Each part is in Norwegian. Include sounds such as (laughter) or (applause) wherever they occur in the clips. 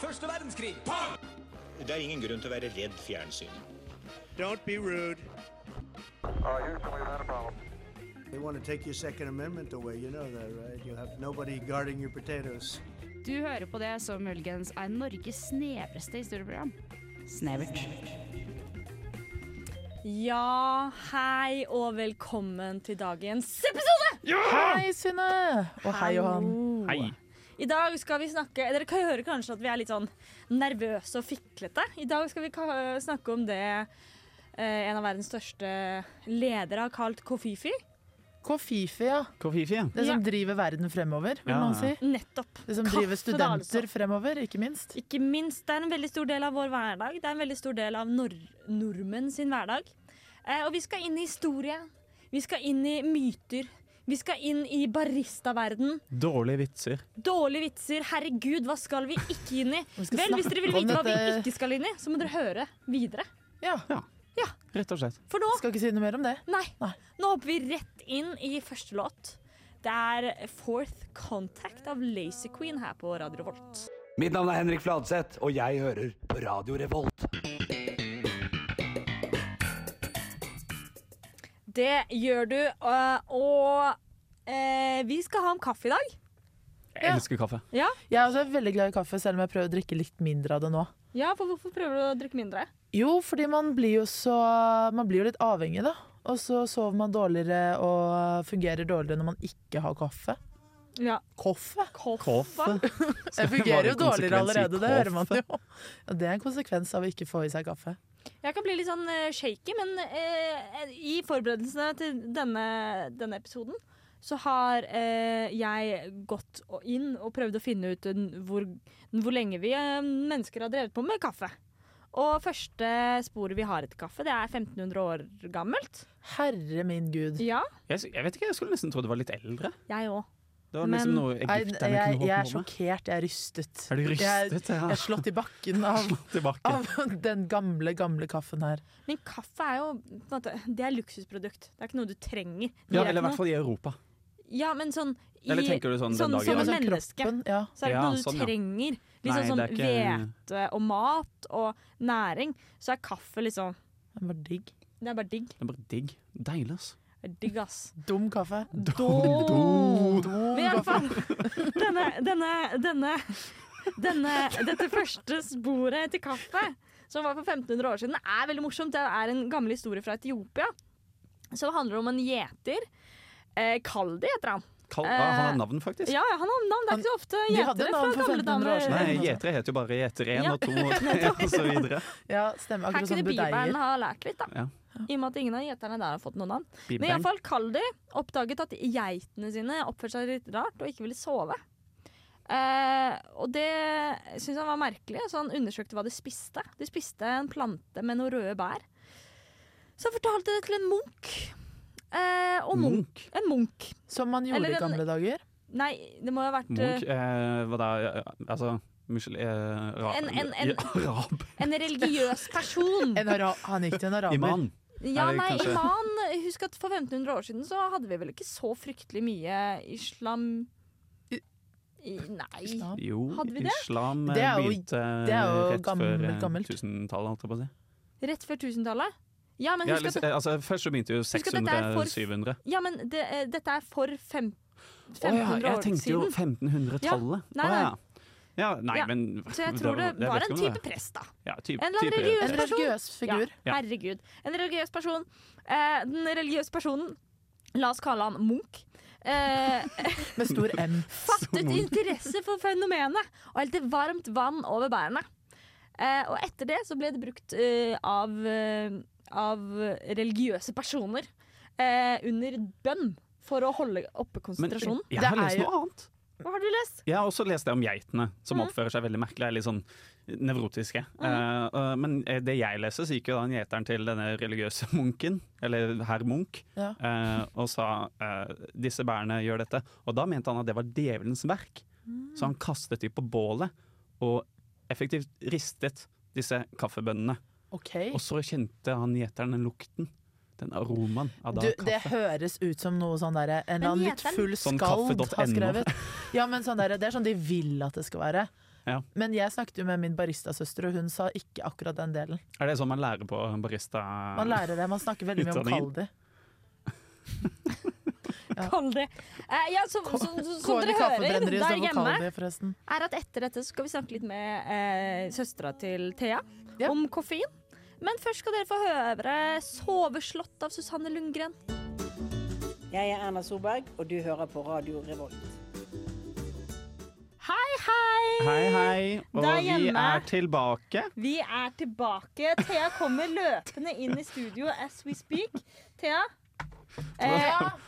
Første verdenskrig. Det er ingen grunn til å være redd fjernsyn. Don't be rude. Uh, Houston, we've had a problem. They want to take your Second Amendment away. You know that, right? You have nobody guarding your potatoes. Du hører på det som muligens er Norges snevreste historieprogram. Snevert. Ja, hei og velkommen til dagens episode! Hei, Synne! Og hei, Johan. Hallo. I dag skal vi snakke Dere kan høre kanskje at vi er litt sånn nervøse og fiklete. I dag skal vi ka- snakke om det eh, en av verdens største ledere har kalt kofifi. Kofifi, ja. Kofifi, ja. Det som Ja. driver verden fremover, vil Ja, noen si. ja. Nettopp. Det som Kaffe, driver da, studenter altså. fremover, ikke minst. Ikke minst. Det er en veldig stor del av vår hverdag. Det er en veldig stor del av nor nordmenn sin hverdag. Eh, og vi skal inn i historie. Vi skal inn i myter. Vi skal inn i baristaverden. Dårlige vitser. Dårlige vitser. Herregud, hva skal vi ikke inn i? skal Vel, hvis dere vil snakke om vite hva vi dette- ikke skal inn i, så må dere høre videre. Ja, Rett og slett. For nå Skal ikke si noe mer om det. Nei. Nei. Nå hopper vi rett inn i første låt. Det er Fourth Contact av Lazy Queen her på Radio Volt. Mitt navn er Henrik Fladseth, og jeg hører på Radio Revolt. Det gjør du, øh, og øh, vi skal ha en kaffe i dag. Jeg elsker kaffe. Jeg er også veldig glad i kaffe, selv om jeg prøver å drikke litt mindre av det nå. Ja, for hvorfor prøver du å drikke mindre? Jo, fordi man blir jo så Man blir jo litt avhengig, da. Og så sover man dårligere og fungerer dårligere når man ikke har kaffe. Ja, Koffe? kaffe. Jeg Var fungerer jo det dårligere konsekvens i allerede, det hører man kaffe? jo. Ja, Det er en konsekvens av å ikke få i seg kaffe. Jeg kan bli litt sånn øh, shaky, men øh, i forberedelsene til denne, denne episoden så har øh, jeg gått og- inn og prøvd å finne ut øh, hvor, hvor lenge vi øh, mennesker har drevet på med kaffe. Og første sporet vi har etter kaffe, det er 1500 år gammelt. Herre min gud. Ja, Jeg, s- jeg vet ikke, jeg skulle nesten tro det var litt eldre. jeg òg. Det var Men- liksom noe Nei, egypterne jeg, kunne jeg er holdt på med. sjokkert. Jeg er rystet. Er du Jeg, jeg rystet? Ja. er slått i bakken (laughs) av, Tilbake. av den gamle, gamle kaffen her. Men kaffe er jo på en måte, Det er luksusprodukt. Det er ikke noe du trenger. Det Ja, er eller i ikke hvert fall i Europa. noe- Ja, men sånn i, Eller tenker du sånn den dag i Som dag? et Altså, menneske. kroppen, ja. Så er det ikke Ja, noe du sånn, ja. trenger. Nei, Liksom det sånn er ikke- hvete og mat og næring. Så er kaffe liksom Den var digg. Det er bare digg. Det er bare digg. Deilig, ass. Det er Digg, ass. Dum kaffe. Dårlig. Men i alle kaffe. fall denne, denne, denne, denne, Dette første sporet til kaffe, som var for 1500 år siden, er veldig morsomt. Det er en gammel historie fra Etiopia som handler om en gjeter. Eh, Kaldi heter han. Kall, Eh, ah, har han navn, faktisk? Ja, ja, han har navn. Det er ikke så ofte de hadde gjetere navn fra for gamle 1500 damer. år siden. Nei, gjetere heter jo bare gjeter 1 Ja. og 2 og 3 og så videre. Ja, stemmer. Her Akkurat kunne som Bibelen budeier. ha lært litt, da. Ja. I og med at ingen av gjeterne der har fått noe navn. Big Men Bang. iallfall Kaldi oppdaget at geitene sine oppførte seg litt rart og ikke ville sove. Eh, og det syntes han var merkelig, så han undersøkte hva de spiste. De spiste en plante med noen røde bær. Så han fortalte det til en munk. Eh, og munk. Munch. En munk. Som man gjorde Eller i en- gamle dager. Nei, det må jo ha vært Munch eh, Hva da? eh, Altså muskel, eh, ra, En- en- en- ja, (laughs) Arab. eh, en religiøs person. (laughs) En ara han gikk (laughs) til en araber. Iman. Ja, Eller nei, kanskje- iman Husk at for 1500 år siden så hadde vi vel ikke så fryktelig mye islam I- I, Nei. Ja. Jo, Hadde vi det? islam eh, Det er jo- begynte det er jo rett gammel- før eh, gammelt. 1000-tallet, holdt jeg på å si. Rett før 1000-tallet? Ja, men Ja, Ah, husk eller, at, altså, først så begynte jo at dette er for- 600-700. ja, men det, eh, dette er for fem, Å 1500 jeg år tenkte jo siden. 1500-tallet. Ja, nei, Å, ja. Ja, nei, Ja, men Så jeg tror det jeg vet var ikke en om type det. prest, da. ja, En typ- eller annen type- religiøs En religiøs figur. Ja, herregud. En religiøs person. Eh, den religiøse personen, la oss kalle han Munch, (laughs) eh, Med stor M. fattet interesse for fenomenet og helte varmt vann over bærene. Eh, og etter det så ble det brukt eh, av, eh, av religiøse personer eh, under bønn for å holde oppe Men konsentrasjonen. jeg Det har er lest jo- noe annet. Hva har du lest? Jeg har også lest det om geitene, Mm. som oppfører seg veldig merkelig. Er litt sånn nevrotiske. Eh, eh, men eh, det jeg leser, så gikk jo da en gjeteren til denne religiøse munken, eller herr Munch, Ja. eh, og sa eh, 'disse bærene gjør dette'. Og da mente han at det var djevelens verk. Mm. Så han kastet de på bålet, og effektivt ristet disse kaffebønnene. OK. Og så kjente han gjeteren den lukten. Den aromaen av da Du, det kaffe. høres ut som noe sånn derre Men En eller annen litt heter den- full Sånn skald kaffe.no. har skrevet. Ja, men sånn derre, Det er sånn de vil at det skal være. Ja. Men jeg snakket jo med min baristasøster, og hun sa ikke akkurat den delen. Er det sånn man lærer på barista? Man lærer det, man snakker veldig mye om Utdanningen. kaldi. Kall det. Eh, ja, som, som, som, som Kåre dere hører Kaffebrenneri der sånn står for hjemme, kaldi, forresten. er at etter dette så skal vi snakke litt med eh, søstera til Thea Ja. om koffein. Men først skal dere få høre 'Soveslått' av Susanne Lundgren. Jeg er Erna Solberg, og du hører på Radio Revolt. Hei, hei! Hei, hei. Og Der vi hjemme. er tilbake. Vi er tilbake. Thea kommer løpende inn i studio as we speak. Thea? Eh,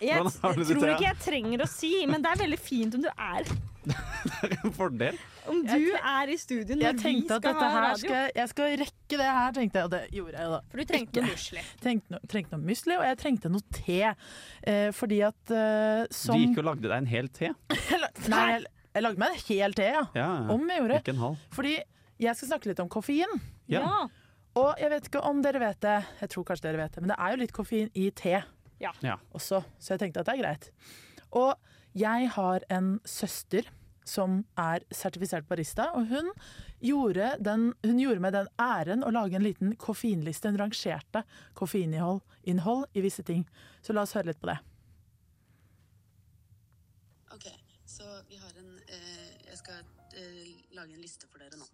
jeg Hvordan har du det, tror Thea? ikke jeg trenger å si, men det er veldig fint om du er En (laughs) fordel. Om Jeg du er i studio når Jeg vi tenkte at skal dette ha her radio. skal, jeg skal rekke det her, tenkte jeg, og det gjorde jeg jo da. For du trengte noe musli. Trengte noe, trengte noe musli, og jeg trengte noe te. Eh, fordi at eh, Du som gikk og lagde deg en hel te. (laughs) Nei, jeg, jeg lagde meg en hel te, ja. Ja, Om jeg gjorde. ikke en halv. Fordi jeg skal snakke litt om koffein. Ja. Ja. Og jeg vet ikke om dere vet det, jeg tror kanskje dere vet det, men det er jo litt koffein i te Ja. Ja. også, så jeg tenkte at det er greit. Og jeg har en søster som er sertifisert barista, og hun gjorde, den, hun gjorde meg den æren å lage en liten koffeinliste. Hun rangerte koffeininnhold innhold i visse ting. Så la oss høre litt på det. Ok, så vi har en eh, Jeg skal eh, lage en liste for dere nå.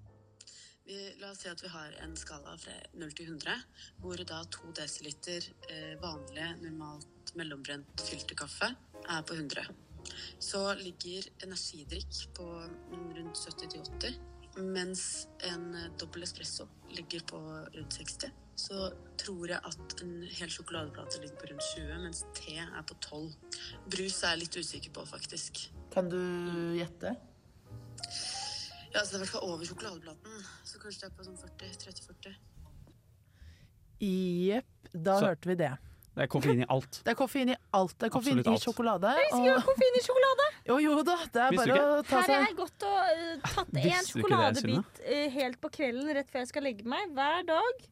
Vi, la oss si at vi har en skala fra 0 til 100, hvor da 2 dl eh, vanlig, normalt mellombrent filterkaffe er på 100. Så ligger energidrikk på rundt 70-80, mens en eh, dobbel espresso ligger på rundt 60. Så tror jeg at en hel sjokoladeplate ligger på rundt 20, mens te er på 12. Brus er jeg litt usikker på, faktisk. Kan du gjette? Ja, altså det er i hvert fall over sjokoladeplaten. Så kanskje det er på sånn 40, 30-40. Jepp, da Så- hørte vi det. Det er koffein i alt. Det er koffein i alt. Det er koffein Absolutt i alt. sjokolade. Skal vi ha Og, koffein i sjokolade? jo, jo da, det er Visste du bare å ta Her seg er godt å eh, tatt en Visste du ikke det, Synne? sjokoladebit eh, helt på kvelden rett før jeg skal legge meg. Hver dag.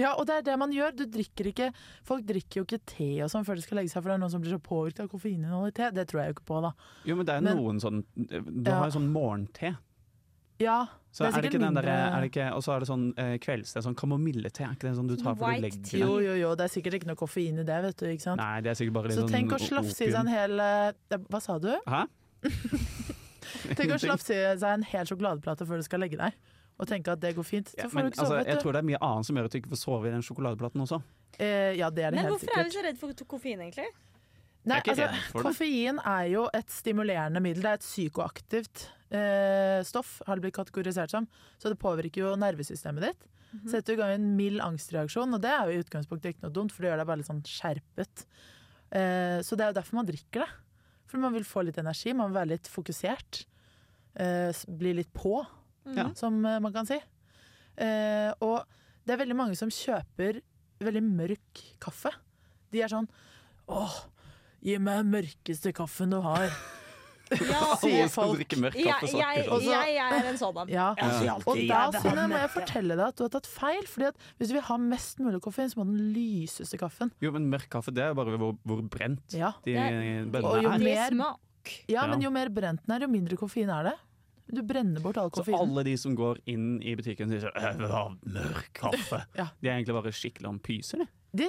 Ja, og det er det man gjør. Du drikker ikke, folk drikker jo ikke te og sånn før de skal legge seg, for det er noen som blir så påvirket av koffeininnholdet i te. Det tror jeg jo ikke på, da. Jo, men det er Men- noen sånn Du Ja. har jo sånn morgente. Ja, Så Det er er det ikke sikkert den der, mindre- er det ikke, og så er det sånn eh, kveldste, sånn kamomillete. Er ikke det sånn du tar for White du legger tea. deg? jo, jo, jo, det er sikkert ikke noe koffein i det, vet du, ikke sant. Nei, det er sikkert bare litt Så sånn tenk å slafse i seg en opium. hel eh, Hva sa (laughs) du? Hæ? Tenk å slafse i seg en hel sjokoladeplate før du skal legge deg. Og tenke at det går fint. Ja, Så får men, du ikke sove, altså, jeg vet du. tror det er mye annet som gjør at du ikke får sove i den sjokoladeplaten også. Eh, ja, det er det Men helt hvorfor er vi sikkert. så redd for koffein, egentlig? Nei, Jeg er ikke altså, redd for det. koffein er jo et stimulerende middel. Det er et psykoaktivt eh, stoff, har det blitt kategorisert som. Så det påvirker jo nervesystemet ditt. Setter i gang en mild angstreaksjon, og det er jo i utgangspunktet ikke noe dumt, for det gjør deg bare litt sånn skjerpet. Eh, så det er jo derfor man drikker det. For man vil få litt energi, man vil være litt fokusert. Eh, s- bli litt på, Ja. som eh, man kan si. Eh, og det er veldig mange som kjøper veldig mørk kaffe. De er sånn Åh, gi meg den mørkeste kaffen du (laughs) har. Ja. (laughs) Sier Alle som folk. drikker mørk Jeg, kaffe, så jeg, akkurat. jeg er en sådan. Ja. Og da det Synne, må jeg fortelle deg at du har tatt feil. Fordi at Hvis du vil ha mest mulig koffein, så må den lyseste kaffen. Jo, men mørk kaffe, det er jo bare hvor, hvor brent Ja, de Det bønnene Og jo er. Det mer- smak. ja Ja. men jo mer brent den er, jo mindre koffein er det. Du brenner bort all Så koffeinen. alle de som går inn i butikken og sier sånn «Jeg vil ha mørk kaffe, (laughs) Ja. de er egentlig bare skikkelig om pyser, de. De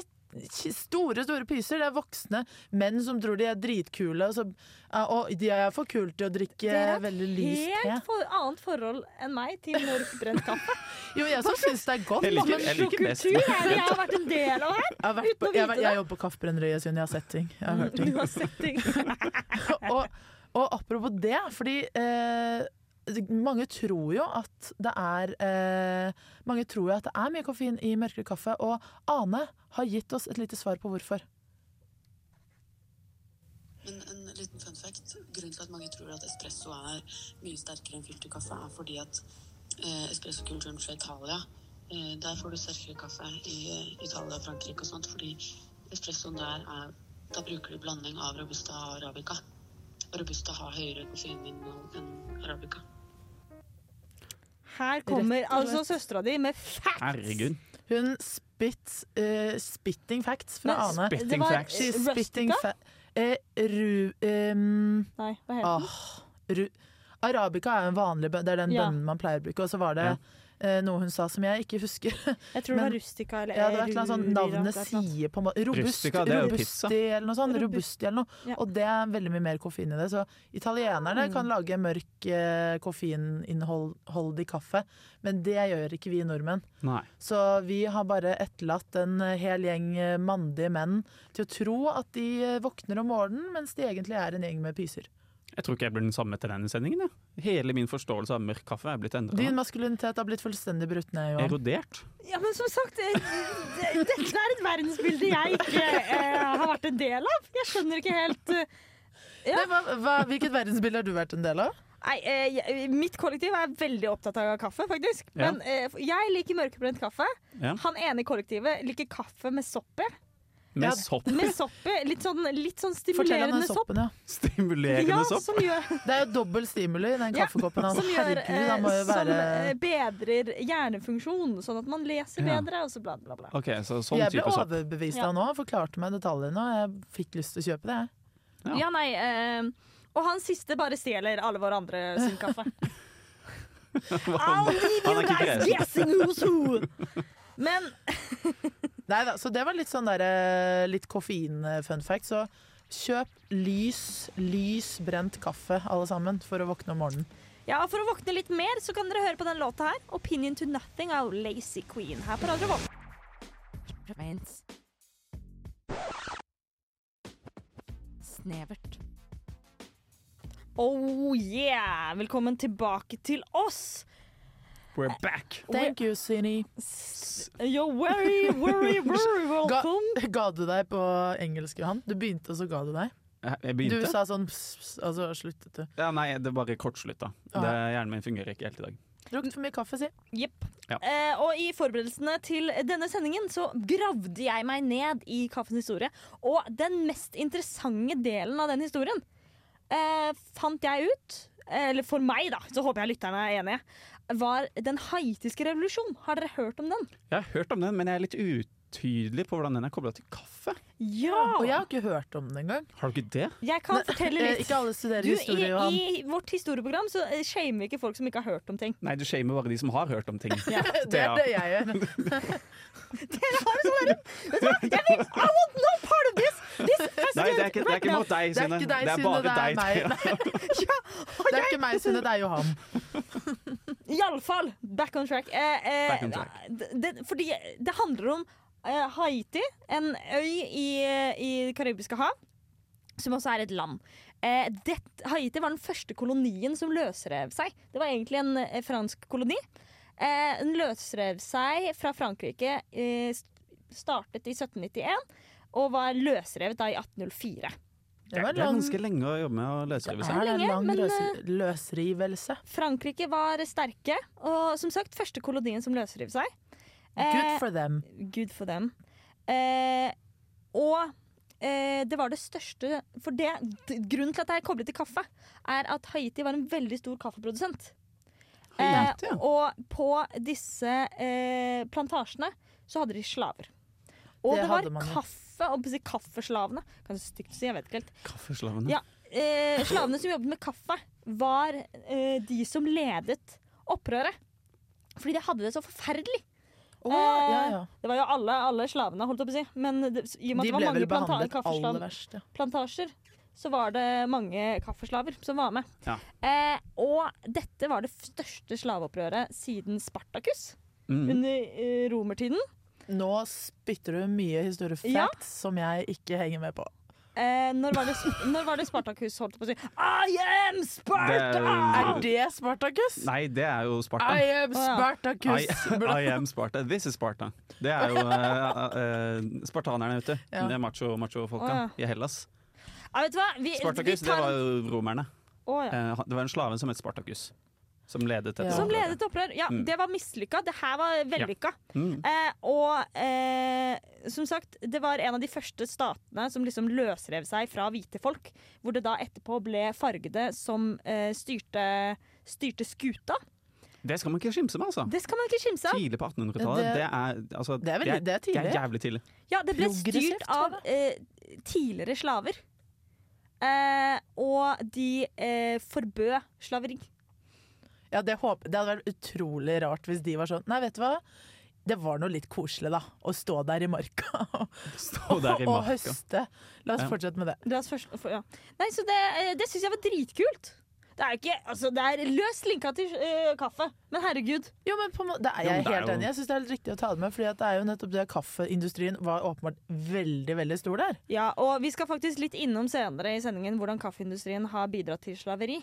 store, store pyser. Det er voksne menn som tror de er dritkule, og, så, ja, og de er for kule til å drikke Dere har eh, veldig lys te. Helt for, annet forhold enn meg til mørkbrent (laughs) kaffe. Jo, jeg som syns det er godt. Jeg liker, men- jeg liker best Kultur er det jeg har vært en del (laughs) av her. Jeg har vært på, Uten å jeg, vite jeg det. Mm. jobber på Kaffebrenneriet, Sunn. Jeg har sett ting. Jeg har hørt ting. Du har sett ting. og, og apropos det, fordi eh, mange tror jo at det er eh, Mange tror jo at det er mye koffein i mørkere kaffe, og Ane har gitt oss et lite svar på hvorfor. Men en liten fun fact. Grunnen til at mange tror at espresso er mye sterkere enn filterkaffe, er fordi at eh, espressokulturen fra Italia eh, Der får du sterkere kaffe i eh, Italia og Frankrike og sånt, fordi espressoen der er Da bruker de blanding av robusta og arabica. Og robusta har høyere koffeininnhold enn arabica. Her kommer Rett og altså søstera di med facts. Herregud. Hun spits, eh, spitting facts fra Men Ane. Spitting Det var facts. She's Eh, Rustica? fa eh, ru... ehm, Nei, hva heter den? ah, ru Arabica er en vanlig bønn, det er den Ja. bønnen man pleier å bruke. Og så var det eh, noe hun sa som jeg ikke husker. Jeg tror det Men- var rustika eller Ja, det var et eller annet sånn Rurira, det navnet er et eller annet. sier på en måte Robust, Rustica, det er jo pizza. robusti eller noe sånt. Robust- Robusti eller noe. Ja. Mm. Og det er veldig mye mer koffein i det. Så italienerne kan lage mørk eh, koffeininnholdig kaffe, men det gjør ikke vi nordmenn. Nei. Så vi har bare etterlatt en hel gjeng eh, mandige menn til å tro at de eh, våkner om morgenen, mens de egentlig er en gjeng med pyser. Jeg tror ikke jeg blir den samme til denne sendingen. Jeg. Hele min forståelse av mørk kaffe er blitt Din endra. maskulinitet har blitt fullstendig brutt ned, Johan. Erodert. Ja, men som sagt, eh, det- dette er et verdensbilde jeg ikke eh, har vært en del av. Jeg skjønner ikke helt eh, Ja. Nei, Hva, hva, hvilket verdensbilde har du vært en del av? Nei, eh, jeg- mitt kollektiv er veldig opptatt av kaffe, faktisk. Ja. Men eh, jeg liker mørkebrent kaffe. Ja. Han ene i kollektivet liker kaffe med sopp i. Med Ja. sopp. (laughs) Med sopp i. Litt sånn, litt sånn Fortell stimulerende om den sopp. soppen, ja. Stimulerende Ja, sopp. som gjør, Det er jo dobbel stimuli i den Ja, kaffekoppen hans. som, gjør Herregud, eh, han må jo som være eh, bedrer hjernefunksjon, sånn at man leser Ja. bedre, og så bla, bla, bla. Ok, så sånn Jeg ble type sopp. overbevist av nå, han forklarte meg detaljene, og jeg fikk lyst til å kjøpe det. jeg. Ja. Ja, nei eh, Og han siste bare stjeler alle våre andre sin (laughs) kaffe. I'll leave Han er you ikke guys greie. guessing who's who! Men Neida, så det var litt sånn der, eh, litt koffein-fun fact. Så kjøp lys, lys brent kaffe, alle sammen, for å våkne om morgenen. ja, for å våkne litt mer, så kan dere høre på den låta her. 'Opinion to Nothing' av Lazy Queen her på Radio Våg. Snevert. Oh yeah! Velkommen tilbake til oss. We're back! Thank you, Sini. Yo, very, very, very welcome. (laughs) Ga du deg på engelsk, Johan? Du begynte, og så ga du deg. Jeg Eh, jeg Du begynte. sa sånn pss, pss, og så sluttet du. Ja, nei, det bare kortslutta. Ah. Det- Hjernen min fungerer ikke helt i dag. Drukket for mye kaffe, si. Jepp. Ja. Eh, og i forberedelsene til denne sendingen så gravde jeg meg ned i kaffens historie. Og den mest interessante delen av den historien eh, fant jeg ut, eh, eller for meg da, så håper jeg lytterne er enige, var den haitiske revolusjon. Har dere hørt om den? Jeg har hørt om den, men jeg er litt utydelig på hvordan den er kobla til kaffe. Ja! Og jeg har ikke hørt om den engang. Har du ikke det? Jeg kan fortelle Eh, litt. Ikke alle studerer Du, i, historie, Johan. I vårt historieprogram så eh, shamer vi ikke folk som ikke har hørt om (laughs) ting. Nei, du shamer bare de som har hørt om ting. Det er det jeg gjør. (laughs) (laughs) Dere har en sånn der- Vet du hva? Jeg vil, I want no part of this! This has Nei, det er ikke, det er right ikke now. mot deg, Det er Synne. ikke deg, Det er Synne, bare det er deg. (laughs) meg. Thea. Det er ikke meg, Synne, det er Johan. Iallfall, back on track. Eh, eh, Back on track. Det, det, fordi det handler om eh, Haiti, en øy i, i Det karibiske hav, som også er et land. Eh, det, Haiti var den første kolonien som løsrev seg. Det var egentlig en eh, fransk koloni. Eh, den løsrev seg fra Frankrike, eh, s- startet i 1791, og var løsrevet da i 1804. Det var Det er lang- ganske lenge å jobbe med å løsrive seg. Er det en lenge, lang men, løs- løsrivelse? Frankrike var sterke, og som sagt første kolonien som løsrev seg. Eh, Good for them. Gud for dem. Eh, og eh, det var det største For det, d- grunnen til at det er koblet til kaffe, er at Haiti var en veldig stor kaffeprodusent. Eh, Haiti, ja. og på disse eh, plantasjene så hadde de slaver. Og det, Det var hadde man jo. kaffe, og si kaffeslavene Kanskje stygt å si, jeg vet ikke helt. Kaffeslavene. Ja. Eh, slavene som jobbet med kaffe, var eh, de som ledet opprøret. Fordi de hadde det så forferdelig. Å, Eh, ja, ja. Det var jo alle, alle slavene, holdt jeg på å si. Men det, i og med at det De var ble vel mange planta behandlet aller kaffeslav- verst. Ja. plantasjer, så var det mange kaffeslaver som var med. Ja. Eh, og dette var det største slaveopprøret siden Spartakus, Mm. under eh, romertiden. Nå spytter du mye historiefacts Ja. som jeg ikke henger med på. Eh, når, var det, (laughs) når var det Spartakus, holdt jeg på å si? I am Det Sparta! Er er, det Spartakus? nei, det er jo Sparta. I Å, am ja. I, Spartakus! I am Sparta. This is Sparta. Det er jo eh, eh, spartanerne ute. Ja. Eh, Det er macho, macho folka Å, i Hellas. Ja, Eh, vet du hva? Vi, Spartakus, vi det tar var en- jo romerne. Å, ja. Eh, han- Det var en slave som het Spartakus. Som ledet dette. Ja. Som opprøret. ledet opprør. Ja, Mm. det var mislykka. Det her var vellykka. Mm. Eh, og eh, som sagt, det var en av de første statene som liksom løsrev seg fra hvite folk. Hvor det da etterpå ble fargede som eh, styrte, styrte skuta. Det skal man ikke skimse med, altså. Det skal man ikke kimse av. Tidlig på 1800-tallet. Det- Det, er altså, Det er, veldig, det er det er tidlig. jævlig tidlig. Ja, det ble Progressivt, styrt av var eh, tidligere slaver. Eh, og de eh, forbød slaveri. Ja, det, håper- det hadde vært utrolig rart hvis de var sånn Nei, vet du hva? Det var noe litt koselig, da. Å stå der i marka (laughs) og, Stå der i og marka. høste. La oss Ja. fortsette med det. La oss først, for, ja. Nei, så det, eh, det syns jeg var dritkult. Det er ikke, altså det er løst linka til eh, kaffe, men herregud. Jo, men på en må- det er Jo, jeg men det er helt jo- enig i. Jeg syns det er helt riktig å ta det med. Fordi at det er jo nettopp det kaffeindustrien var åpenbart veldig, veldig stor der. Ja, og vi skal faktisk litt innom senere i sendingen hvordan kaffeindustrien har bidratt til slaveri.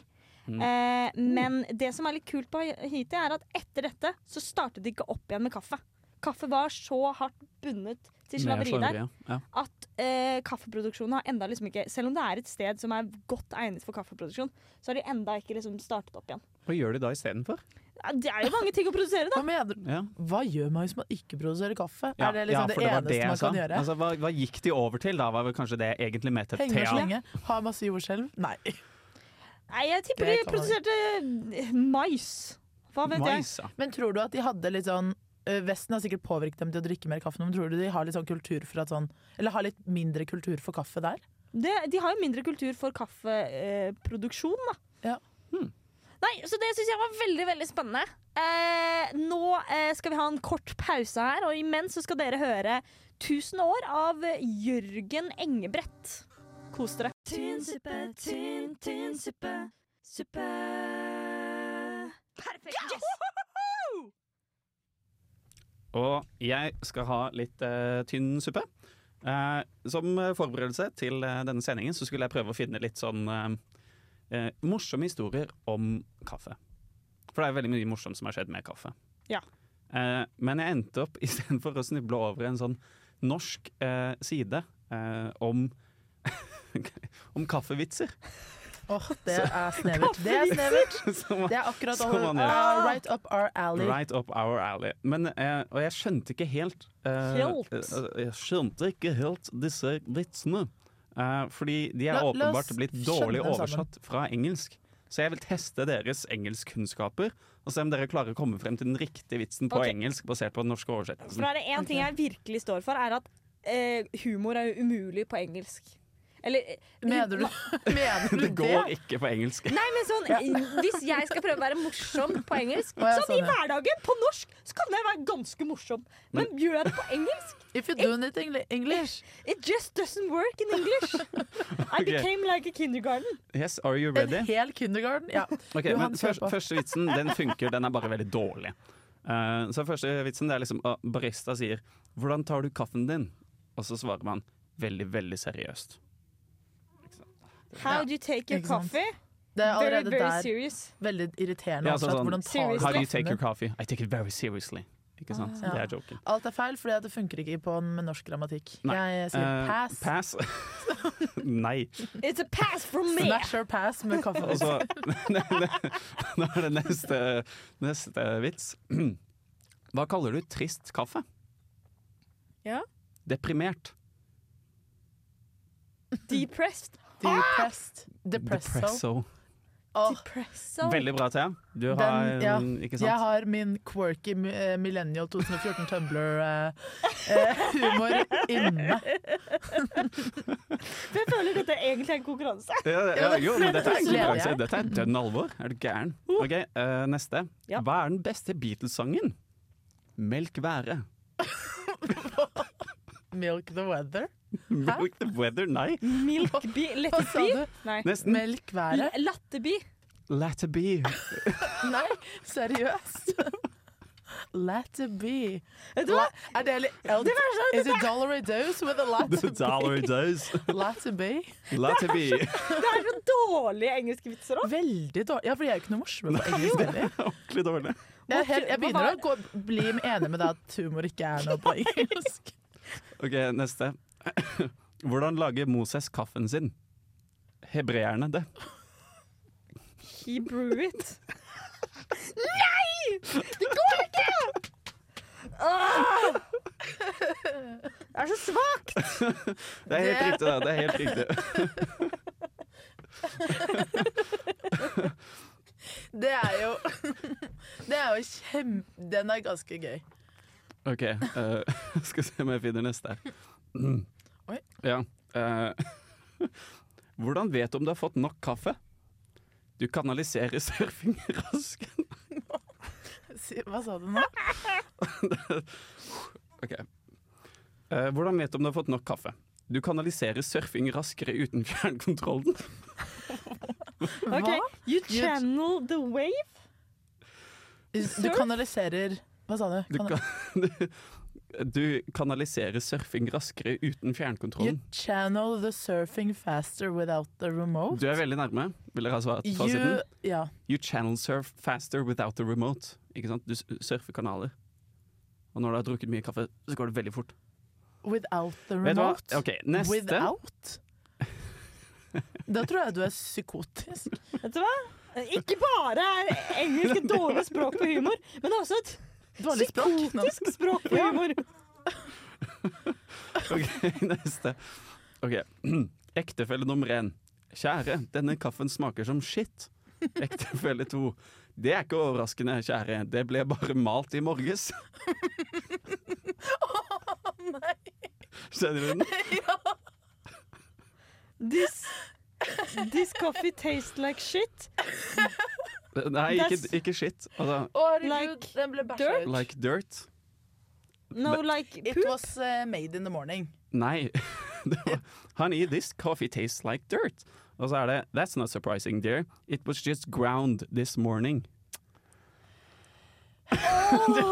Mm. Eh, men det som er litt kult på Haiti, er at etter dette så startet de ikke opp igjen med kaffe. Kaffe var så hardt bundet til slaveri der at eh, kaffeproduksjonen har enda liksom ikke Selv om det er et sted som er godt egnet for kaffeproduksjon, så har de enda ikke liksom startet opp igjen. Hva gjør de da istedenfor? Ja, Det er jo mange ting å produsere, da. Hva, mener du? Ja. hva gjør man hvis man ikke produserer kaffe? er det liksom ja, det, for var eneste jeg man sa. kan gjøre? Altså, hva, hva gikk de over til da? Var vel kanskje det jeg egentlig mente? Henge og Thea? slenge? Ha masse jordskjelv? Nei. (laughs) Nei, jeg tipper de Det kan man produserte eh, mais. Hva vet jeg? Men tror du at de hadde litt sånn øh, Vesten har sikkert påvirket dem til å drikke mer kaffe, nå, men tror du de har litt sånn kultur for at sånn Eller har litt mindre kultur for kaffe der? Det, de har jo mindre kultur for kaffeproduksjon, da. Hmm. Nei, så det syns jeg var veldig, veldig spennende. Eh, nå eh, skal vi ha en kort pause her, og imens så skal dere høre 1000 år av Jørgen Engebrett. Kos dere. Tynsuppe, tynn, tynnsuppe, suppe. Perfekt. Yes! Og jeg skal ha litt eh, tynn suppe. Eh, som eh, forberedelse til eh, denne sendingen så skulle jeg prøve å finne litt sånn eh, eh, morsomme historier om kaffe. For det er veldig mye morsomt som har skjedd med kaffe. Ja. Eh, men jeg endte opp (laughs) istedenfor å snuble over en sånn norsk eh, side eh, om (laughs) om kaffevitser. (laughs) (laughs) Åh, det er snevert. Det er (laughs) snevert. Som- Det er akkurat som over, man gjør. ah, right up our alley. Right up our alley. Men, eh, og jeg skjønte ikke helt eh, Helt? eh, Jeg skjønte ikke helt disse vitsene. Eh, fordi de er La- la oss åpenbart blitt skjønne dårlig dem sammen. oversatt fra engelsk. Så jeg vil teste deres engelskkunnskaper og se om dere klarer å komme frem til den riktige vitsen på Ok. engelsk basert på den norske (laughs) oversettelsen. For er det én ting jeg virkelig står for, er at eh, humor er jo umulig på engelsk. Eller (laughs) eh, Mener du, (laughs) mener du Det går ikke på engelsk. Nei, men sånn, Hvis jeg skal prøve å være morsom på engelsk, Å, ja, sånn i sånn, ja. hverdagen, på norsk, så kan jeg være ganske morsom. Men Men- gjør jeg det på engelsk If you do it in English It just doesn't work in English. I Ok. became like a kindergarten. Yes, are you ready? En hel kindergarten? Ja. Ok, Johan, men kjør først, på. Første vitsen den funker, den er bare veldig dårlig. Eh, så første vitsen det er liksom ah, Barista sier 'Hvordan tar du kaffen din?' Og så svarer man veldig, veldig seriøst. How do you take your Ikke sant. coffee? Det er Very, allerede very der serious. veldig irriterende. Ja, oversatt. altså sånn, Hvordan tar du How do kaffen you take your din? coffee? I take it very seriously. Ikke sant? Ah. Det er joken. Alt er feil, fordi at det funker ikke på med norsk grammatikk. Jeg sier eh, pass. (laughs) pass. Nei. It's a pass from me. Smash or pass med (laughs) kaffe. Og så Nå er det neste, neste vits. Hva kaller du trist kaffe? Ja. Deprimert. Depressed. Depressed. Depresso. Depresso. Åh. Sånn. Veldig bra, Thea. Du har Den, ja. mm, Ikke Jeg sant? har min quirky eh, millennial 2014 Tumblr-humor eh, inne. For jeg føler dette egentlig er en (laughs) konkurranse. Ja, ja, jo, men dette er ikke Leder konkurranse. jeg? Dette er dønn alvor. Er du gæren? Uh. Ok, eh, Neste. Hva er den beste Beatles-sangen? Melk været. Milk the weather. Milk the weather? Nei. Milkby. Letteby. Nei. Nesten. Melk været. L- Latteby. Let it (laughs) be. Nei, seriøst? Let it be. La- er det litt Det var sånn- Is it dollar a dose with a (laughs) let The it dollar be? does. Let it be. Let it (laughs) be. Det er så dårlige engelske vitser òg. Veldig dårlig. Ja, for jeg er ikke noe morsom på engelsk heller. Ordentlig dårlig. Jeg, er helt- jeg Hva var- begynner å gå, bli enig med deg at humor ikke er noe (laughs) på engelsk. Ok, neste. Hvordan lager Moses kaffen sin? Hebreerne det. He brew it. Nei! Det går ikke! Åh! Det er så svakt. Det er helt riktig, da. Det er helt riktig. Det er jo Det er jo kjempe... Den er ganske gøy. Ok, eh, (laughs) skal se om jeg finner neste. (clears throat) Oi. Ja. eh, (laughs) (laughs) hvordan vet du om du har fått nok kaffe? Du kanaliserer surfingrasken. Hva sa du nå? Ok. Eh, hvordan vet du om du har fått nok kaffe? Du kanaliserer surfing raskere uten (laughs) fjernkontrollen. Ok, You channel the wave? Du kanaliserer Hva sa du? Du, Kan- kan, du, du kanaliserer surfing raskere uten You fjernkontrollen. channel the surfing faster without the remote. Du er veldig nærme, vil dere ha svaret fra You- siden? ja. You channel surf faster without the remote. Ikke sant? Du s- surfer kanaler. Og når du har drukket mye kaffe, så går det veldig fort. Without the Vet du hva? remote. Ok, neste. Without? Da tror jeg du er psykotisk. Vet du hva? Ikke bare er engelsk et dårlig språk på humor, men det er også et Dårlig språk. psykotisk språk på humor. (laughs) Ok, neste. Ok. (clears throat) Ektefelle nummer én. Kjære, denne kaffen smaker som skitt. Ektefelle to. Det er ikke overraskende, kjære. Det ble bare malt i morges. (laughs) Skjønner (laughs) du den? This, this coffee tastes like shit. Nei, ikke, ikke skitt. Altså, Like den ble dirt? like dirt. No, like It was eh, made in the morning. Nei. (laughs) Det var, Honey, this coffee tastes like dirt. Og så er det That's not surprising, dear. It was just ground this morning. (laughs)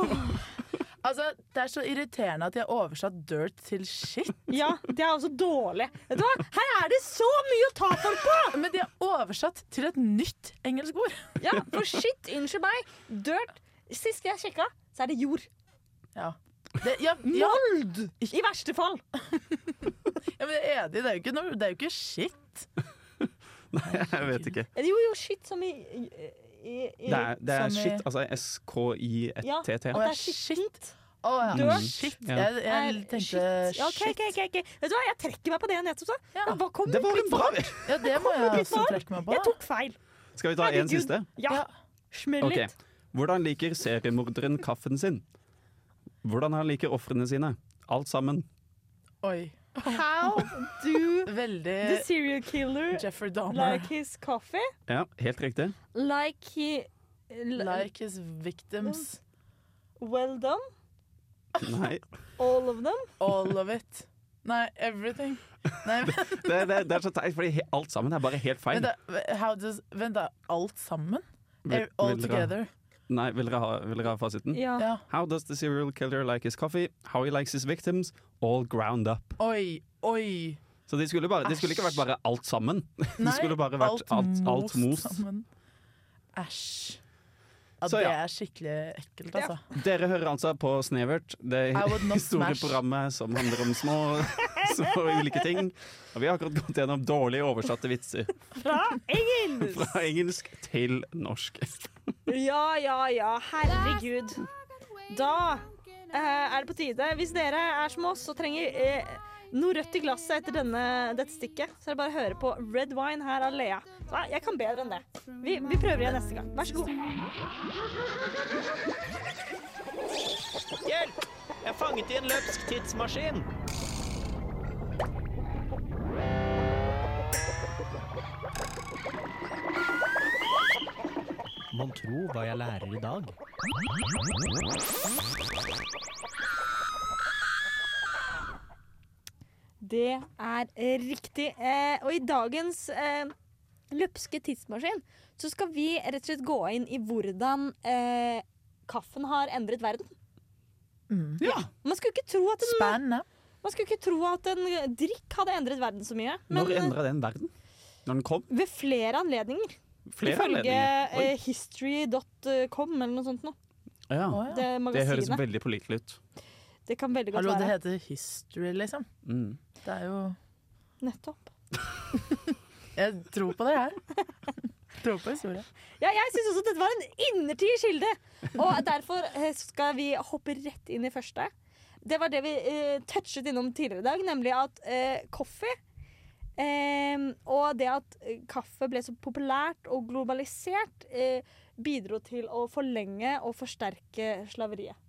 Altså, Det er så irriterende at de har oversatt dirt til shit. Ja, det er også dårlig. Vet du hva? Her er det så mye å ta folk på! Men de har oversatt til et nytt engelsk ord. Ja, for shit, unnskyld meg. Dirt. Sist jeg sjekka, så er det jord. Ja. Det, ja, ja. Mold! I verste fall. ja men jeg er enig, det er jo ikke, noe, det er jo ikke shit. Nei, jeg vet ikke. Jo, jo, shit som i, i, i Det er, det er Som i- shit, altså S-K-I-T-T. at det er skittent. Å ja. Dirt? Shit. Ja. Jeg, jeg Nei, tenkte Ja, ok, ok, ok, ok. Vet du hva, jeg trekker meg på det jeg nettopp sa. Ja. Hva kom Det var en bra Ja, det må jeg litt også varmt. trekke meg på. Jeg tok feil. (laughs) Skal vi ta en Herregud. siste? Ja. Smell Ok. litt. Hvordan liker seriemorderen kaffen sin? Hvordan han liker ofrene sine? Alt sammen. Oi. How do Veldig the serial killer Jeffrey Dahmer. like his coffee? Ja, helt riktig. Like he like Like his victims. well done? Nei. All of them? All of it. Nei, everything. Nei, men, Det, det, det er så teit, fordi he- alt sammen er bare helt feil. vent, da, how does, vent da, alt sammen? Vil- All vil dere- together. Nei, vil dere ha, vil dere ha fasiten? Ja. Ja. How does the serial killer like his coffee? How he likes his victims? All ground up. Oi, oi. Så de skulle, bare, de skulle ikke vært bare alt sammen. (laughs) Nei, det skulle bare vært alt, alt most. sammen. Æsj. Ja, Så det ja. er skikkelig ekkelt, altså. Dere hører altså på Snevert, det I would not store smash. programmet som handler om (laughs) små, små ulike ting. Og vi har akkurat gått gjennom dårlig oversatte vitser Fra engelsk! (laughs) fra engelsk til norsk. Ja, ja, ja. Herregud. Da eh, er det på tide. Hvis dere er som oss og trenger eh, noe rødt i glasset etter denne, dette stikket, så er det bare å høre på Red Wine her av Lea. Så, eh, jeg kan bedre enn det. Vi, vi prøver igjen neste gang. Vær så god. Hjelp! Jeg er fanget i en løpsk tidsmaskin. Mon tro hva jeg lærer i dag? Det er eh, riktig. Eh, og i dagens eh, løpske tidsmaskin så skal vi rett og slett gå inn i hvordan eh, kaffen har endret verden. Ja. Man skulle ikke tro at en, Spennende. man skulle ikke tro at en drikk hadde endret verden så mye. Men Når eh, endra den verden? Når den kom? eh, ved flere anledninger. Flere Ifølge anledninger. Oi. eh, history.com eller noe sånt. Nå. Ja. Å, ja. Det Det høres magasinet. veldig pålitelig ut. Det kan veldig godt Hallo, det være. heter history, liksom. Mm. Det er jo Nettopp. Jeg tror på det, jeg. (laughs) tror på historie. Ja, jeg syns også at dette var en innertidig kilde. Og derfor eh, skal vi hoppe rett inn i første. Det var det vi eh, touchet innom tidligere i dag, nemlig at eh, kaffe eh, og det at eh, kaffe ble så populært og globalisert, eh, bidro til å forlenge og forsterke slaveriet.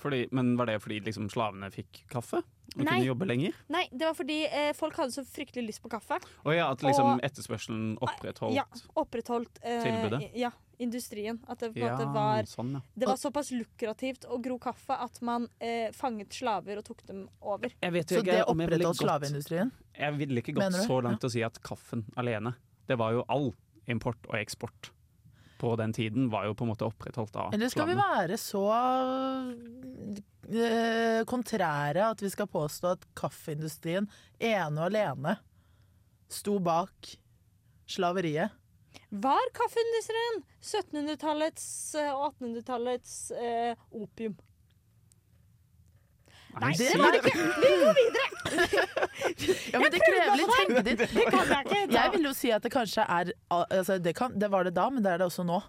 Fordi, men var det fordi liksom slavene fikk kaffe? Og Nei. kunne jobbe lenger? Nei, det var fordi eh, folk hadde så fryktelig lyst på kaffe. Og ja, at liksom Og- etterspørselen opprettholdt Ja, opprettholdt eh, Tilbudet. Ja, industrien. At det, på en Ja, måte var, sånn, ja. det var såpass lukrativt å gro kaffe at man eh, fanget slaver og tok dem over. Jeg vet Så jo ikke det om jeg ville opprettholdt gått- slaveindustrien? Jeg ville ikke gått Mener du? så langt å si at kaffen alene Det var jo all import og eksport på den tiden var jo på en måte opprettholdt av Eller skal vi slavene. være så eh, kontrære at vi skal påstå at kaffeindustrien ene og alene sto bak slaveriet? Var kaffeindustrien 1700-tallets eh, og 1800-tallets eh, opium? Nei, det var det ikke! Vi går videre! Ja, men Jeg det prøvde krever å litt få deg. tenketid. Det kan jeg ikke ta. Jeg vil jo si at det kanskje er altså det, kan, det var det da, men det er det også nå.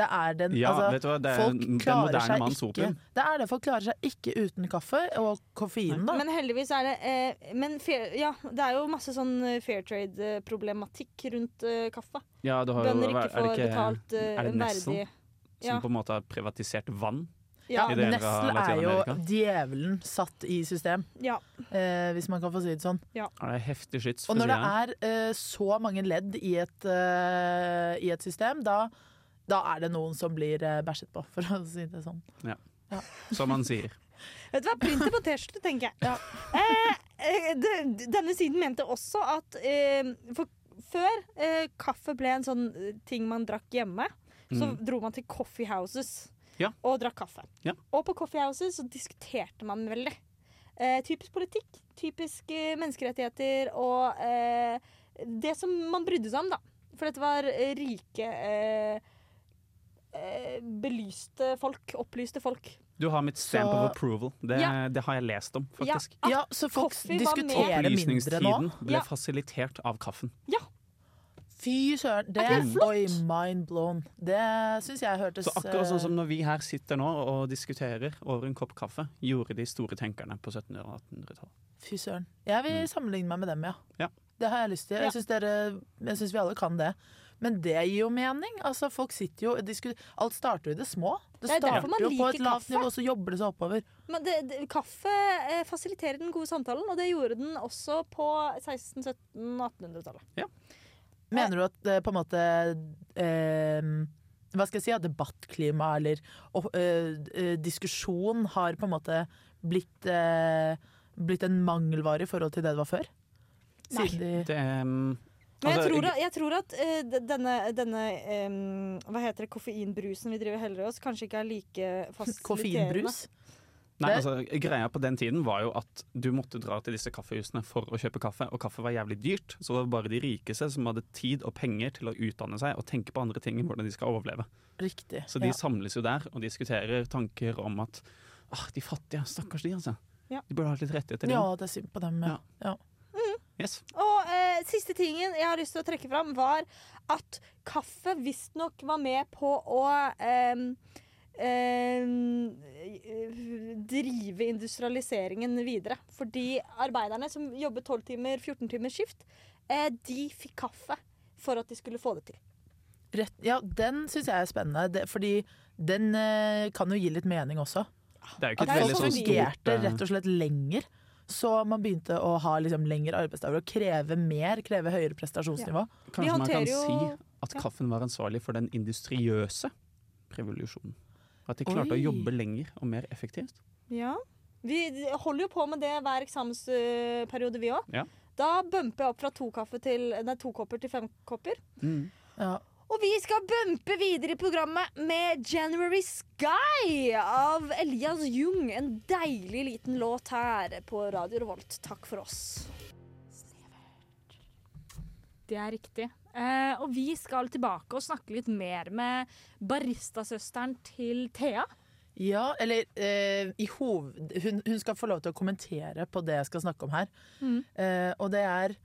Det er den, Ja, altså, vet du hva, det er folk den klarer moderne seg manns ikke- opium. Det er det, folk klarer seg ikke uten kaffe og koffein, da. Men heldigvis er det eh, men fair, Ja, det er jo masse sånn eh, fair trade-problematikk rundt eh, kaffe. Ja, det har jo- Bønder er ikke det får ikke- betalt eh, er det Nestle verdig som på en måte har privatisert vann. Ja, i deler av Nestle er jo Latin-Amerika. djevelen satt i system, Ja. eh, hvis man kan få si det sånn. Ja, Det er heftig skyts. Og for å når det si det. er eh, så mange ledd i et, eh, i et system, da, da er det noen som blir eh, bæsjet på, for å si det sånn. Ja. Som man sier. Vet du hva, printer på T-skjorte, tenker jeg. Eh, eh, det- denne siden mente også at eh, for, før eh, kaffe ble en sånn eh, ting man drakk hjemme, så Mm. dro man til coffee houses Ja. og drakk kaffe. Ja. Og på coffee houses så diskuterte man veldig. Eh, typisk politikk, typisk eh, menneskerettigheter og eh, det som man brydde seg om, da. For dette var eh, rike, eh, eh, belyste folk, opplyste folk. Du har mitt Så- stamp of approval. Det, Ja. det har jeg lest om, Ja, faktisk. at Ja, så folk coffee Ah, var med. diskuterer mindre nå. Opplysningstiden ble Ja. fasilitert av kaffen. Fy søren, det Er ikke det flott? Oi, mind blown. Det syns jeg hørtes Så akkurat sånn som eh, når vi her sitter nå og diskuterer over en kopp kaffe, gjorde de store tenkerne på 1700- og 1800-tallet. eh, Fy søren. Jeg vil sammenligne meg med dem, ja. Mm. Ja. Det har jeg lyst til. Ja. Jeg syns dere- jeg syns vi alle kan det. Men det gir jo mening. Altså, folk sitter jo de skulle, Alt starter jo i det små. Det Det er derfor starter man jo på liker et lavt kaffe. nivå, og så jobber det seg oppover. Men det, det, kaffe eh, fasiliterer den gode samtalen, og det gjorde den også på 16-, 17-, 1800-tallet. Mener du at eh, på en måte eh, Hva skal jeg si? At debattklima eller og, eh, eh, diskusjon har på en måte blitt, eh, blitt en mangelvare i forhold til det det var før? Nei. Siden de Men jeg tror, at- jeg tror at eh, d- denne, denne em, hva heter det, koffeinbrusen vi driver heller i oss, kanskje ikke er like fasiliterende. Koffeinbrus? Nei, altså, greia på den tiden var jo at du måtte dra til disse kaffehusene for å kjøpe kaffe, og kaffe var jævlig dyrt, så det var bare de rikeste som hadde tid og penger til å utdanne seg og tenke på andre ting enn hvordan de skal overleve. Riktig. Så de ja. samles jo der og diskuterer tanker om at ah, de fattige, stakkars de, altså. Ja. De burde ha litt rettigheter. de ja, også.» det er synd på dem. Ja. Ja. Yes. Og eh, siste tingen jeg har lyst til å trekke fram, var at kaffe visstnok var med på å em, em, drive industrialiseringen videre. Fordi arbeiderne som jobbet 12 timer, 14 timers skift, eh, de fikk kaffe for at de skulle få det til. Rett, ja, den syns jeg er spennende, det, fordi den eh, kan jo gi litt mening også. Det er jo ikke At et folk veldig sånn stort fungerte eh, rett og slett lenger. Så man begynte å ha liksom lengre arbeidsdager og kreve mer, kreve høyere prestasjonsnivå. Kanskje man kan si at kaffen var ansvarlig for den industriøse revolusjonen. At de klarte Oi. å jobbe lenger og mer effektivt. Ja. Vi holder jo på med det hver eksamensperiode, vi òg. Ja. Da bumper jeg opp fra to, kaffe til, nei, to kopper til fem kopper. Mm. Ja. Og vi skal bumpe videre i programmet med 'January Sky' av Elias Jung. En deilig liten låt her på Radio Revolt. Takk for oss. Det er riktig. Eh, og vi skal tilbake og snakke litt mer med baristasøsteren til Thea. Ja, eller eh, i hoved... Hun, hun skal få lov til å kommentere på det jeg skal snakke om her. Eh, og det er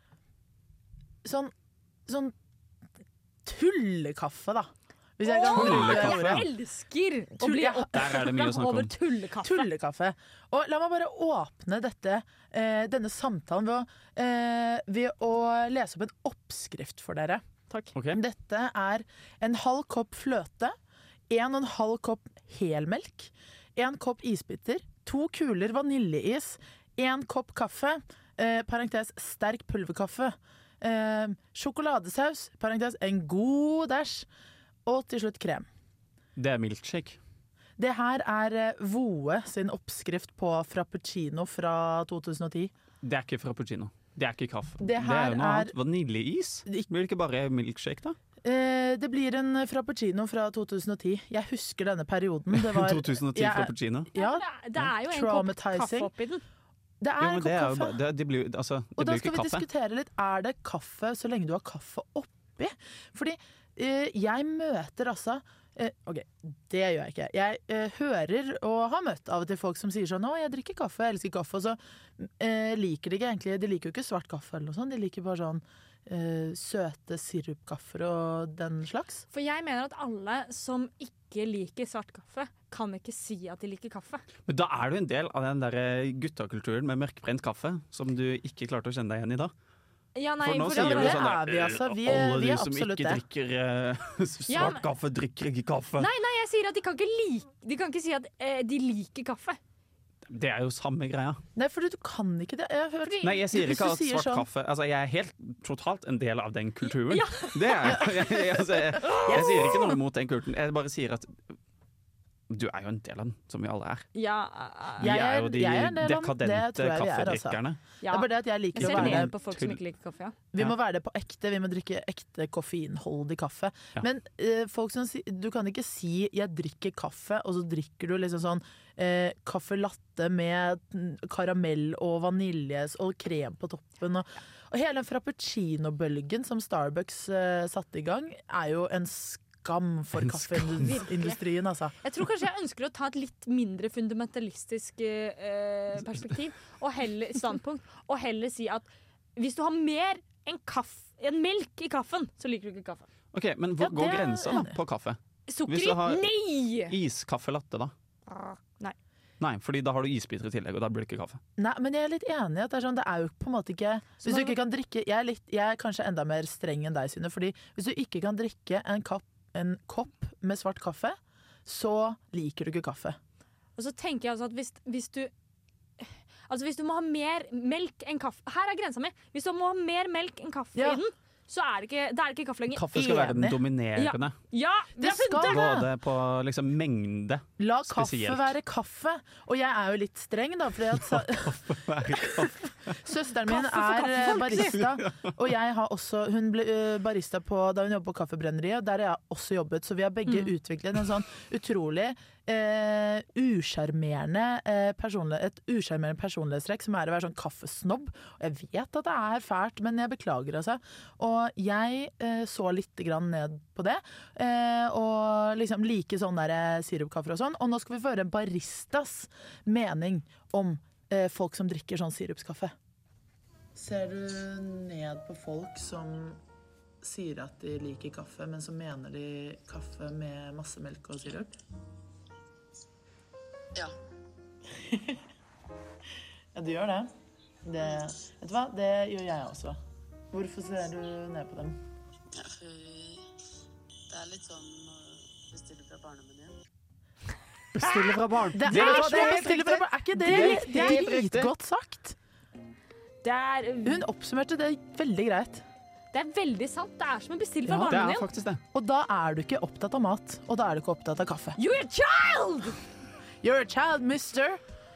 sånn, sånn tullekaffe, da. Hvis jeg kan Åh, bruke det jeg ordet. elsker å Tull- bli Ja, Der er det mye å (laughs) oppskrytt snakke om. over tullekaffe. Tullekaffe. Og la meg bare åpne dette, eh, denne samtalen ved å, eh, ved å lese opp en oppskrift for dere. Ok. Dette er en halv kopp fløte, en og en halv kopp helmelk, en kopp isbiter, to kuler vaniljeis, en kopp kaffe, eh, parentes sterk pulverkaffe, eh, sjokoladesaus, parentes en god dash, Og til slutt krem. Det er milkshake. Det her er eh, Voe sin oppskrift på frappuccino fra 2010. Det er ikke frappuccino. Det er ikke kaffe. Det Det, her er jo noe er- annet. Vaniljeis? Blir det ikke bare milkshake, da? Eh, det blir en frappuccino fra 2010. Jeg husker denne perioden. Det (laughs) var, 2010 Jeg- frappuccino? Ja, Det er jo en kopp kaffe Traumatizing. oppi den. Det er Jo, en men kopp det, er jo, kaffe. ba- det, det blir jo altså, det Og da blir jo skal ikke vi kaffe. diskutere litt Er det kaffe så lenge du har kaffe oppi? Fordi eh, jeg møter altså eh, Ok, det gjør jeg ikke. Jeg eh, hører og har møtt av og til folk som sier sånn 'Å, jeg drikker kaffe, jeg elsker kaffe', og så eh, liker de ikke egentlig De liker jo ikke svart kaffe eller noe sånt, de liker bare sånn eh, søte sirupkaffer og den slags. For jeg mener at alle som ikke liker svart kaffe, kan ikke si at de liker kaffe. Men da er du en del av den der guttakulturen med mørkbrent kaffe som du ikke klarte å kjenne deg igjen i da. Ja, nei, for nå for- sier ja, du det sånn er vi, altså. Vi er- Alle vi er de som absolutt ikke drikker eh, svart Ja, men- kaffe, drikker ikke kaffe. Nei, nei, jeg sier at de kan ikke, like, de kan ikke si at eh, de liker kaffe. Det er jo samme greia. Nei, for du kan ikke det. Jeg har hørt Nei, jeg sier Hvis ikke du at sier svart sånn- kaffe Altså, jeg er helt totalt en del av den kulturen. Det er jeg. (laughs) Jeg, altså, jeg. jeg sier ikke noe mot den kulturen. Jeg bare sier at du er jo en del av den, som vi alle er. Ja, Vi Jeg er jo er- de jeg er en del av den. Det tror dekadente jeg vi er, altså. kaffedrikkerne. Det er bare det at jeg liker jeg å ser være ned en på folk som tull. ikke liker kaffe. Ja. Vi må være det på ekte, vi må drikke ekte koffeinholdig kaffe. Ja. Men eh, folk som si, du kan ikke si 'jeg drikker kaffe', og så drikker du liksom sånn eh, caffè latte med mm, karamell og vanilje og krem på toppen. Og, og hele den frappuccino-bølgen som Starbucks eh, satte i gang, er jo en skam for kaffeindustrien, altså. Jeg tror kanskje jeg ønsker å ta et litt mindre fundamentalistisk eh, perspektiv og heller, standpunkt, og heller si at hvis du har mer enn kaff, en melk i kaffen, så liker du ikke kaffe. Ok, Men hvor Ja, går det er- grensa da, på kaffe? Sukker Hvis i? du har Nei! Iskaffe latte, da? Ah, Nei. Nei, fordi da har du isbiter i tillegg, og da blir det ikke kaffe. Nei, men jeg er litt enig i at det er sånn, det er jo på en måte ikke Hvis du man- ikke kan drikke Jeg er, litt, jeg er kanskje enda mer streng enn deg, Synne. Fordi hvis du ikke kan drikke en, kapp, en kopp med svart kaffe, så liker du ikke kaffe. Og så tenker jeg altså at hvis, hvis du Altså hvis du må ha mer melk enn kaffe Her er grensa mi! Hvis du må ha mer melk enn kaffe i den, så er det ikke, da er det ikke kaffe lenger. Kaffe skal være den dominerende. Ja, ja vi har funnet det! Både på liksom mengde La kaffe spesielt. være kaffe! Og jeg er jo litt streng, da, fordi (laughs) at Søsteren min Kaffe for er eh, kaffefolk, sier barista, og jeg har også Hun ble eh, barista på, da hun jobbet på Kaffebrenneriet, og der har jeg også jobbet, så vi har begge Mm. utviklet en sånn utrolig eh, usjarmerende eh, personlig- et usjarmerende personlighetstrekk som er å være sånn kaffesnobb. Og jeg vet at det er fælt, men jeg beklager, altså. Og jeg eh, så litt grann ned på det, eh, og liksom like sånn der eh, sirupkaffer og sånn. Og nå skal vi få høre baristas mening om eh, folk som drikker sånn sirupskaffe. Ser du ned på folk som sier at de liker kaffe, men så mener de kaffe med masse melk og sirup? Ja. Ja, du gjør det. det. Vet du hva, det gjør jeg også. Hvorfor ser du ned på dem? Ja, for det er litt sånn å bestille fra barnemenyen. Bestille fra barn. Det er, Det er så- helt riktig. bestille fra barn. Er ikke det, Det er litt- det helt er riktig. dritgodt sagt? Hun oppsummerte det veldig greit. Det er veldig sant. Det er som en bestilling fra barnehagen din. Og da er du ikke opptatt av mat, og da er du ikke opptatt av kaffe. You're a child! You're a child, mister.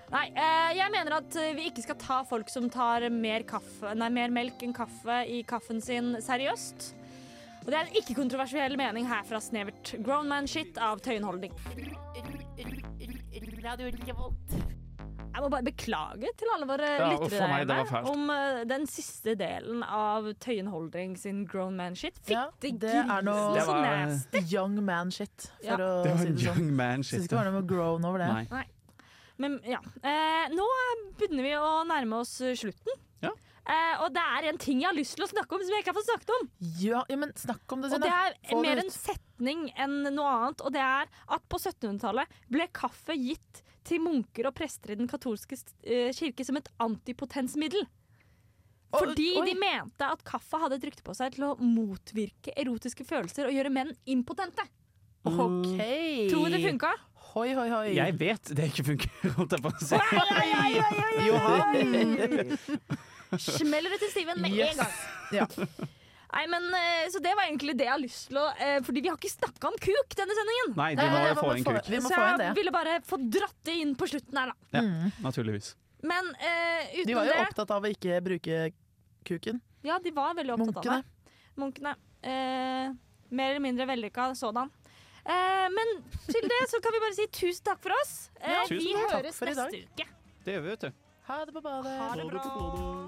Nei, eh, jeg mener at eh, vi ikke skal ta folk som tar mer, kaffe, nei, mer melk enn kaffe i kaffen sin, seriøst. Og det er en ikke-kontroversiell mening her fra Snevert. Grown man shit av Tøyenholdning. Radio Revolt. Jeg må bare beklage til alle våre Ja, uff, lyttere for meg, der det var hjemme fælt. om eh, den siste delen av Tøyenholdning sin grown man shit. Ja, Fitte det er noe Det så var- nasty. young man shit, for Ja. å Det var si det sånn. young man Syns shit. ikke det var noe grown over det. Nei. Nei. Men ja. Eh, nå begynner vi å nærme oss eh, slutten. Eh, og det er en ting jeg har lyst til å snakke om som jeg ikke har fått snakket om. Ja, ja, men snakk om det, Og det Synne. er Få det mer ut. en setning enn noe annet, og det er at på 1700-tallet ble kaffe gitt til munker og prester i den katolske eh, kirke som et antipotensmiddel. Oi, Fordi oi. de mente at kaffe hadde et rykte på seg til å motvirke erotiske følelser og gjøre menn impotente. OK. Tror du det funka? Hoi, hoi, hoi. Jeg vet det ikke funker, holdt jeg på å si. Johan! Smeller det til Steven med Yes. en gang. Ja. Nei, men eh, Så det var egentlig det jeg har lyst til å eh, Fordi vi har ikke snakka om kuk denne sendingen. Nei, vi Nei, må nei, vi få må inn få- kuk. vi må Så få jeg inn det. ville bare få dratt det inn på slutten her, da. Ja, naturligvis. Men eh, utenom De var jo det opptatt av å ikke bruke kuken. Ja, de var veldig opptatt av det. Munkene. Eh, mer eller mindre vellykka sådan. Eh, men til det så kan vi bare si tusen takk for oss. Eh, Ja, vi tusen takk høres for i dag. neste uke. Det gjør vi, vet du. Ha det på badet. Ha det bra.